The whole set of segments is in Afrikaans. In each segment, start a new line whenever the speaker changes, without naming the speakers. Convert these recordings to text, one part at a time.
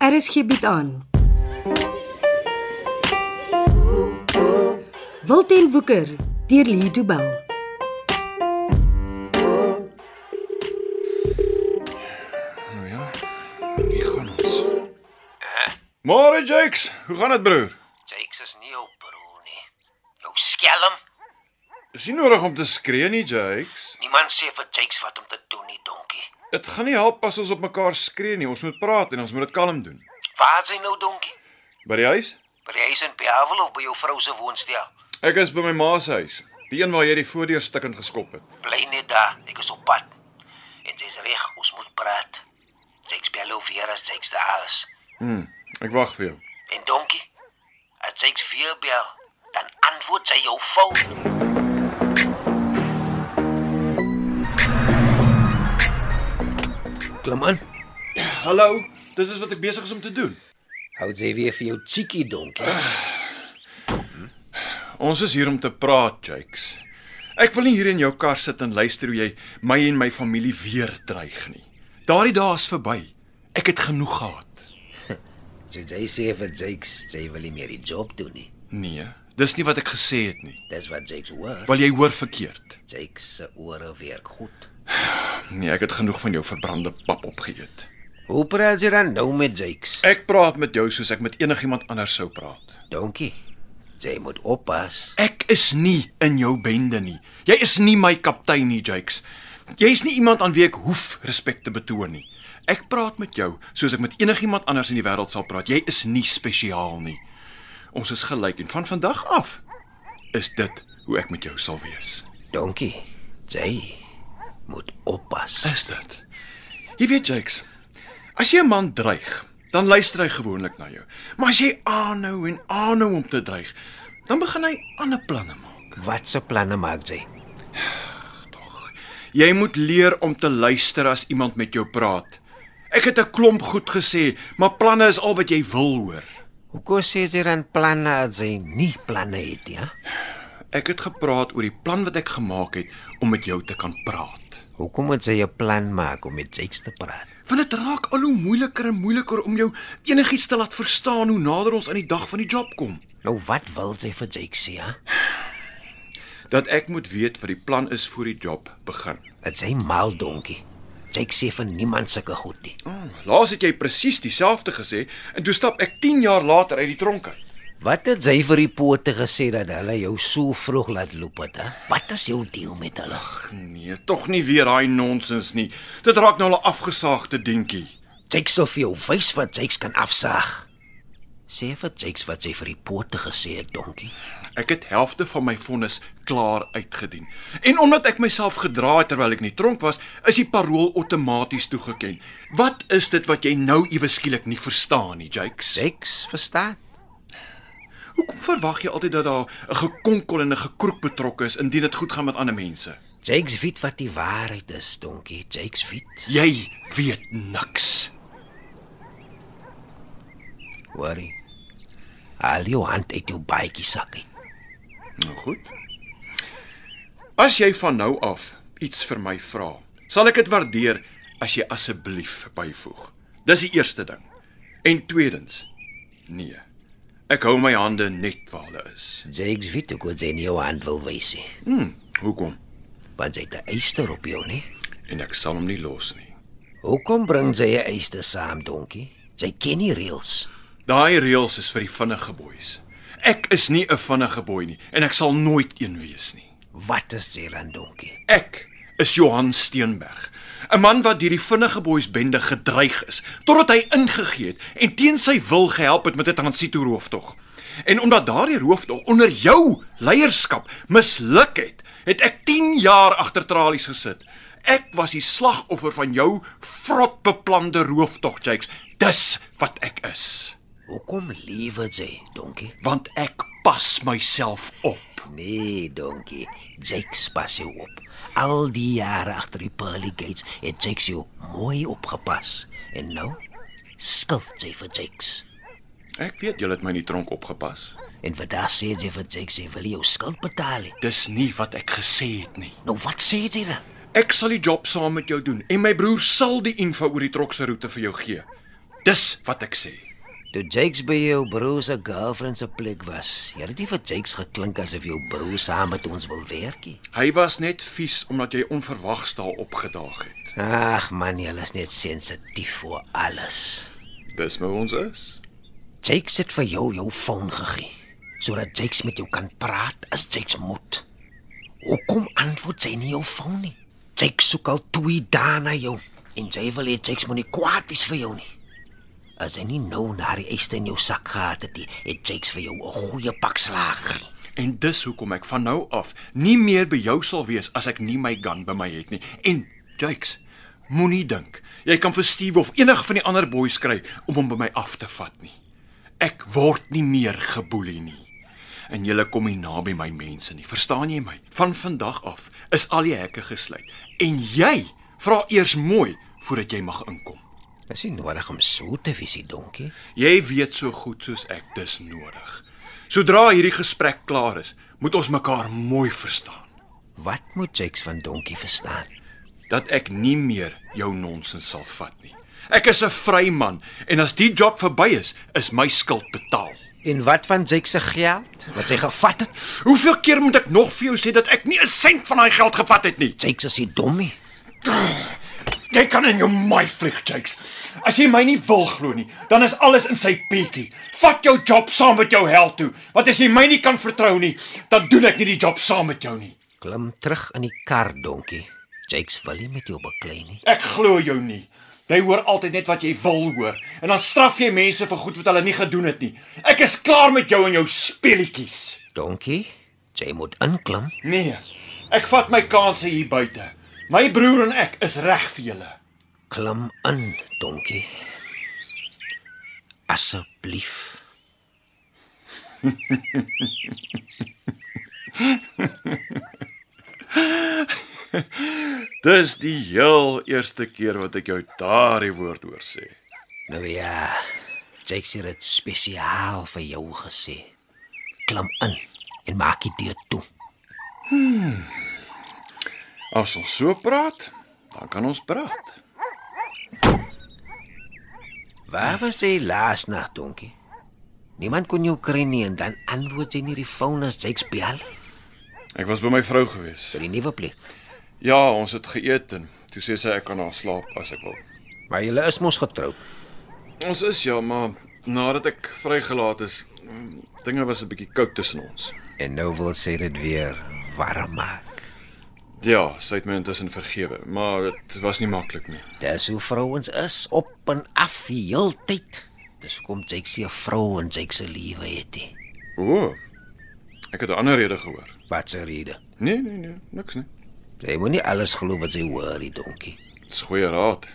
RSG bied Er aan. Wilten Woeker deur Lee Du Bell.
Nou ja. Hier gaan ons. Môre Jakes, hoe gaan dit broer?
Jakes is nie jou broer nie. Jou skelm.
Is nie nodig om te skree nie, Jakes.
Niemand sê vir Jakes wat om te doen nie, donkie.
Dit gaan nie help as ons op mekaar skree nie. Ons moet praat en ons moet dit kalm doen.
Waar is hy nou, donkie?
By die huis?
By die huis in Piavel of by jou vrou se woonstel?
Ek is by my ma se huis. Die een waar jy die voordeur stikkend geskop het.
Bly net daar. Ek is op pad. En sy's reg, ons moet praat. Jakes bel jou weer as Jakes daar is.
Hm, ek wag vir jou.
En donkie, as Jakes weer bel, dan antwoord sy jou fout. Klim aan.
Hallo, dis is wat ek besig is om te doen.
Hou dit weer vir jou chickie donkie.
Ons is hier om te praat, Jakes. Ek wil nie hier in jou kar sit en luister hoe jy my en my familie weer dreig nie. Daardie dae is verby. Ek het genoeg gehad.
So jy sê vir Jakes, jy wil nie meer die job doen nie.
Nee, dis nie wat ek gesê het nie.
Dis wat Jakes hoor.
Wil jy hoor verkeerd?
Jakes se ore werk goed.
Nee, ek het genoeg van jou verbrande pap opgeëet.
Hoe praat jy dan nou met Jakes?
Ek praat met jou soos ek met enigiemand anders sou praat.
Donkie. Jy moet oppas.
Ek is nie in jou bende nie. Jy is nie my kaptein nie, Jakes. Jy is nie iemand aan wie ek hoef respek te betoon nie. Ek praat met jou soos ek met enigiemand anders in die wêreld sal praat. Jy is nie spesiaal nie. Ons is gelyk en van vandag af is dit hoe ek met jou sal wees.
Donkie. Jy moet oppas.
Is dit? Jy weet Jakes, as jy 'n man dreig, dan luister hy gewoonlik na jou. Maar as jy aanhou en aanhou om te dreig, dan begin hy ander planne maak.
Wat se planne maak jy?
Jy moet leer om te luister as iemand met jou praat. Ek het 'n klomp goed gesê, maar planne is al wat jy wil hoor.
Hoekom sê jy dan planne as jy nie planne het nie? Ja?
Ek het gepraat oor die plan wat ek gemaak het om met jou te kan praat.
Hoekom moet jy 'n plan maak om met Jakes te praat?
Want dit raak al hoe moeiliker en moeiliker om jou enigiets te laat verstaan hoe nader ons aan die dag van die job kom.
Nou wat wil jy vir Jakes sê? Ja?
dat ek moet weet wat die plan is vir die job begin.
Dit sê mal donkie. Jakes sê vir niemand sulke goed nie.
Oh, laas het jy presies dieselfde gesê en toe stap ek 10 jaar later uit die tronk uit.
Wat het jy vir die pote gesê dat hulle jou so vroeg laat loop het? He? Wat is jou deel met hulle?
Nee, tog nie weer daai nonsens nie. Dit raak nou al 'n afgesaagde dingetjie.
Jakes sal vir jou wys wat Jakes kan afsaag. Sê vir Jakes wat jy vir die pote gesê het, donkie.
Ek het helfte van my vonnis klaar uitgedien. En omdat ek myself gedra het terwyl ek in die tronk was, is die parol outomaties toegeken. Wat is dit wat jy nou ewe skielik nie verstaan nie, Jakes?
Jakes verstaan.
Hoekom verwag jy altyd dat daar 'n gekonkel en 'n gekroek betrokke is indien dit goed gaan met ander mense?
Jakes weet wat die waarheid is, donkie. Jakes weet.
Jy weet niks.
Worry. Haal jou hand uit jou baadjie sak uit.
Nou goed. As jy van nou af iets vir my vra, sal ek dit waardeer as jy asseblief byvoeg. Dis die eerste ding. En tweedens, nee. Ek hou my hande net waar hulle is.
Jakes weet ook wat jy in jou hand wil wys, nie.
Hm, hoekom?
want jy het 'n eister op jou, nie?
En ek sal hom nie los nie.
Hoekom bring jy 'n eister saam, donkie? Jy ken nie reëls.
Daai reëls is vir die vinnige boeis. Ek is nie 'n vinnige boei nie en ek sal nooit een wees nie.
Wat is jy dan donkie?
Ek is Johan Steenberg, 'n man wat deur die vinnige boeis bende gedreig is totdat hy ingegee het en teen sy wil gehelp het met 'n transito rooftog. En omdat daardie rooftog onder jou leierskap misluk het, het ek 10 jaar agter tralies gesit. Ek was die slagoffer van jou vrot beplande rooftog, Jakes. Dis wat ek is,
Hoekom lewe jy, donkie?
want ek pas myself op.
Nee, donkie. Jakes pas jou op. Al die jare agter die pearly gates het Jakes jou mooi opgepas. En nou skuld jy vir Jakes.
Ek weet julle het my in die tronk opgepas.
En vandag sê jy vir Jakes jy wil jou skuld betaal. nie.
Dis nie wat ek gesê het nie.
Nou wat sê jy dan?
Ek sal die job saam met jou doen en my broer sal die info oor die trok se roete vir jou gee. Dis wat ek sê.
Toe Jakes by jou broer se girlfriend se plek was, jy het nie vir Jakes geklink asof jou broer saam met ons wil werk nie.
Hy was net vies omdat jy onverwags daar opgedaag het.
Ag man, jy is net sensitief vir alles.
Dis hoe ons is.
Jakes het vir jou jou foon gegee sodat Jakes met jou kan praat as Jakes moet. Hoekom antwoord sy nie jou foon nie? Jakes soek al 2 dae na jou en jy wil hê Jakes moet nie kwaad wees vir jou nie. As hy nie nou na die eiste in jou sak gehad het nie, het Jakes vir jou 'n goeie pak slaag gegee.
En dis hoekom ek van nou af nie meer by jou sal wees as ek nie my gun by my het nie. En Jakes, moenie dink jy kan vir Steve of enig van die ander boys kry om hom by my af te vat nie. Ek word nie meer geboelie nie. En julle kom nie naby my mense nie. Verstaan jy my? Van vandag af is al die hekke gesluit. En jy vra eers mooi voordat jy mag inkom.
Dis nie nodig om so te wees, die donkie.
Jy weet so goed soos ek dis nodig. Sodra hierdie gesprek klaar is, moet ons mekaar mooi verstaan.
Wat moet Jakes van donkie verstaan?
dat ek nie meer jou nonsens sal vat nie. Ek is 'n vry man en as die job verby is, is my skuld betaal.
En wat van Jakes se geld wat sy gevat het?
Hoeveel keer moet ek nog vir jou sê dat ek nie 'n sent van daai geld gevat het nie?
Jakes is nie dom nie.
Jy kan in jou my vlieg, Jakes. As jy my nie wil glo nie, dan is alles in sy pietjie. Vat jou job saam met jou hel toe. Want as jy my nie kan vertrou nie, dan doen ek nie die job saam met jou nie.
Klim terug in die kar, donkie. Jakes wil nie met jou beklei nie.
Ek glo jou nie. Jy hoor altyd net wat jy wil hoor en dan straf jy mense vir goed wat hulle nie gedoen het nie. Ek is klaar met jou en jou speletjies.
Donkie, jy moet inklim.
Nee. Ek vat my kanse hier buite. My broer en ek is reg vir julle.
Klim in, donkie. Asseblief.
Dis die heel eerste keer wat ek jou daardie woord hoor sê.
Nou ja, Jakes het dit spesiaal vir jou gesê. Klim in en maak die deur toe.
As ons so praat, dan kan ons praat.
Waar was jy laas nag, donkie? Niemand kon jou kry nie en dan antwoord jy nie die foon as Jakes bel nie.
Ek was by my vrou gewees.
vir die nuwe plek.
Ja, ons het geëet en toe sê sy ek kan haar slaap as ek wil.
Maar jy is mos getroud.
Ons is ja, maar nadat ek vrygelaat is, mm, dinge was 'n bietjie koud tussen ons.
En nou wil sy dit weer warm maak.
Ja, sy het my intussen vergewe, maar dit was nie maklik nie.
Dis hoe vrouens is op en af die heeltyd. Dis hoekom Jake se vrou en Jake se lewe het. He.
O. Ek het 'n ander rede gehoor.
Wat se rede?
Nee, nee, nee, niks nie.
Jy moenie alles glo wat jy hoor, die donkie.
Dis goeie raad.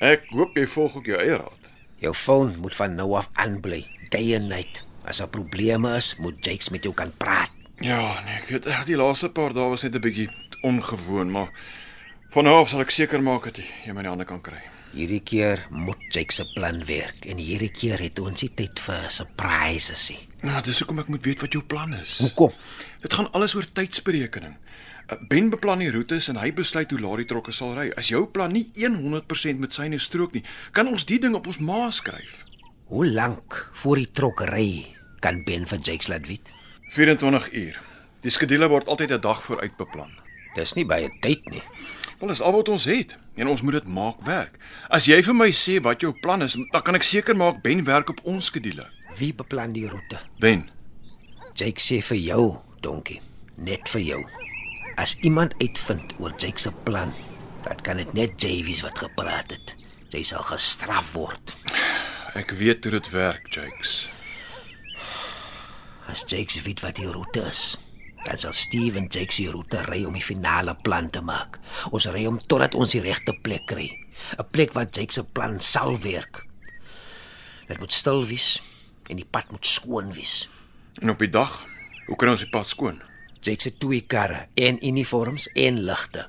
Ek hoop jy volg ook jou eie raad.
Jou foon moet van nou af aan bly, day and night. As daar probleme is, moet Jake met jou kan praat.
Ja, nee, ek weet ag die laaste paar dae was net 'n bietjie ongewoon, maar van nou af sal ek seker maak dat jy jy my in die hande kan kry.
Hierdie keer moet Jake se plan werk en hierdie keer het ons nie tyd vir surprises nie.
Nou, dis hoekom ek moet weet wat jou plan is.
Hoekom?
Dit gaan alles oor tydsberekening. Uh, Ben beplan die roetes en hy besluit hoe laat die trokke sal ry. As jou plan nie 100% met syne strook nie, kan ons die ding op ons ma skryf.
Hoe lank voor die trokkery kan Ben vir Jakes laat weet?
24 uur. Die skedule word altyd 'n dag vooruit beplan.
Dis nie baie tyd nie.
Wel is al wat ons het en ons moet dit maak werk. As jy vir my sê wat jou plan is, dan kan ek seker maak Ben werk op ons skedule.
Wie beplan die roete?
Ben,
Jake sê vir jou, donkie, net vir jou. As iemand uitvind oor Jake se plan, dan kan dit net Javies wat gepraat het. Jy sal gestraf word.
ek weet hoe dit werk, Jakes.
As Jake weet wat die roete is, dan sal Steve en Jake se roete ry om die finale plan te maak. Ons ry hom totdat ons die regte plek kry. 'n Plek waar Jake se plan sal werk. Dit moet stil wees en die pad moet skoon wees.
En op die dag, hoe kan ons die pad skoon?
Jake se twee karre, een uniforms en ligte.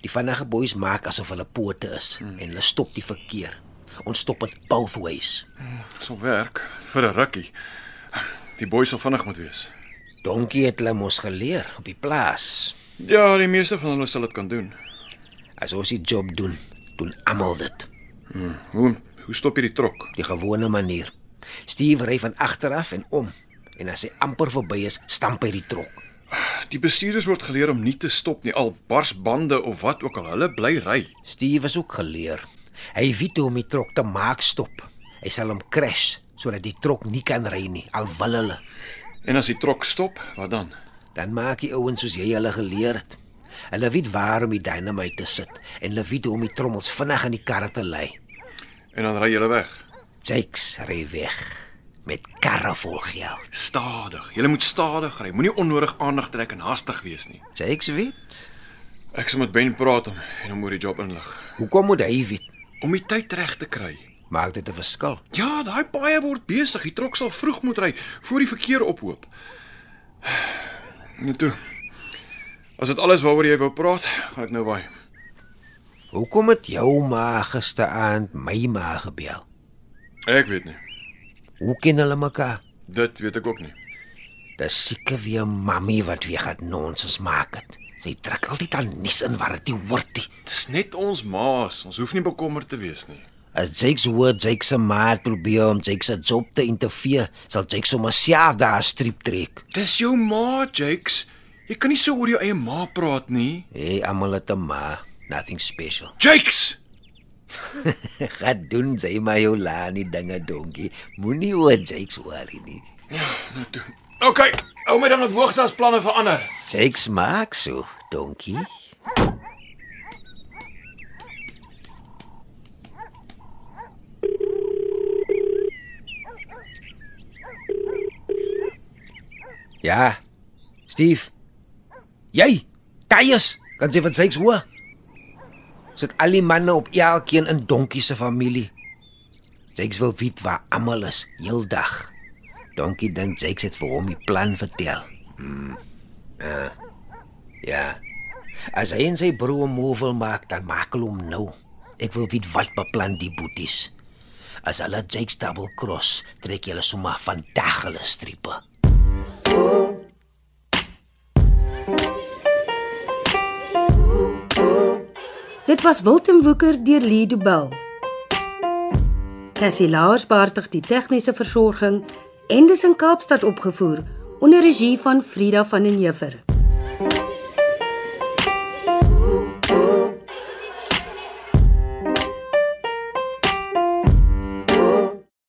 Die vinnige boeis maak asof hulle pote is hmm. en hulle stop die verkeer. Ons stop dit both ways.
Dit sal werk vir 'n rukkie. Die boys sal vinnig moet wees.
Donkie het hulle mos geleer op die plaas.
Ja, die meeste van hulle sal dit kan doen.
As ons die job doen, doen almal dit.
Hoe Hoe stop jy die trok?
die gewone manier. Steve ry van agteraf en om en as hy amper verby is, stamp hy die trok.
Die bestuurders word geleer om nie te stop nie, al barsbande of wat ook al. Hulle bly ry.
Steve is ook geleer. Hy weet hoe om die trok te maak stop. Hy sal hom crash sodat die trok nie kan ry nie al wil hulle.
En as die trok stop, wat dan?
Dan maak die ouens soos jy hulle geleer het. Hulle weet waar om die dynamiet te sit en hulle weet hoe om die trommels vinnig in die karre te lei.
En dan ry julle weg.
Jakes ry weg met karre vol geld.
Stadig. Jy moet stadig ry. Moenie onnodig aandag trek en haastig wees nie.
Jakes weet.
Ek sal met Ben praat om en hom oor die job inlig.
Hoekom moet hy weet?
Om die tyd reg te kry.
Maak dit 'n verskil.
Ja, daai paaie word besig. Die trok sal vroeg moet ry voor die verkeer ophoop. Net Nou toe. As dit alles waaroor jy wou praat, gaan ek nou waai.
Hoekom het jou ma gisteraand my ma gebel?
Ek weet nie.
Hoe ken hulle mekaar?
Dit weet ek ook nie.
Dis seker weer mami wat weer gaan nonsens maak het. Sy trek altyd al nuus in wat dit nie hoort nie.
Dis net ons maas. Ons hoef nie bekommerd te wees nie.
As Jakes hoor Jakes se maat probeer om Jakes se job te interfere, sal Jakes sommer self daar 'n streep trek.
Dis jou ma, Jakes. Jy kan nie so oor jou eie ma praat nie.
Hey, almal het 'n ma, nothing special.
Jakes,
Gaan doen sy maar jou laanie dinge donkie. Moenie oor Jakes worry nie.
nou toe. OK, hou my dan op hoogte as planne verander.
Jakes maak so, donkie. Ja. Steve. Jy, Kaius, kan jy van Jakes hoor? Sit al die manne op elkeen in donkie se familie. Jakes wil weet waar almal is, heeldag. Donkie dink Jakes het vir hom die plan vertel. Ja. As hy en sy broer movel maak, dan maak hulle hom nou. Ek wil weet wat beplan die boeties. As hulle Jake's double cross, trek hulle sommer vandag hulle striepe.
Dit was Wilten Woeker deur Lido Bell. Cassie Lars beheer die tegniese versorging en dis in Kaapstad opgevoer onder regie van Frida van den Heever.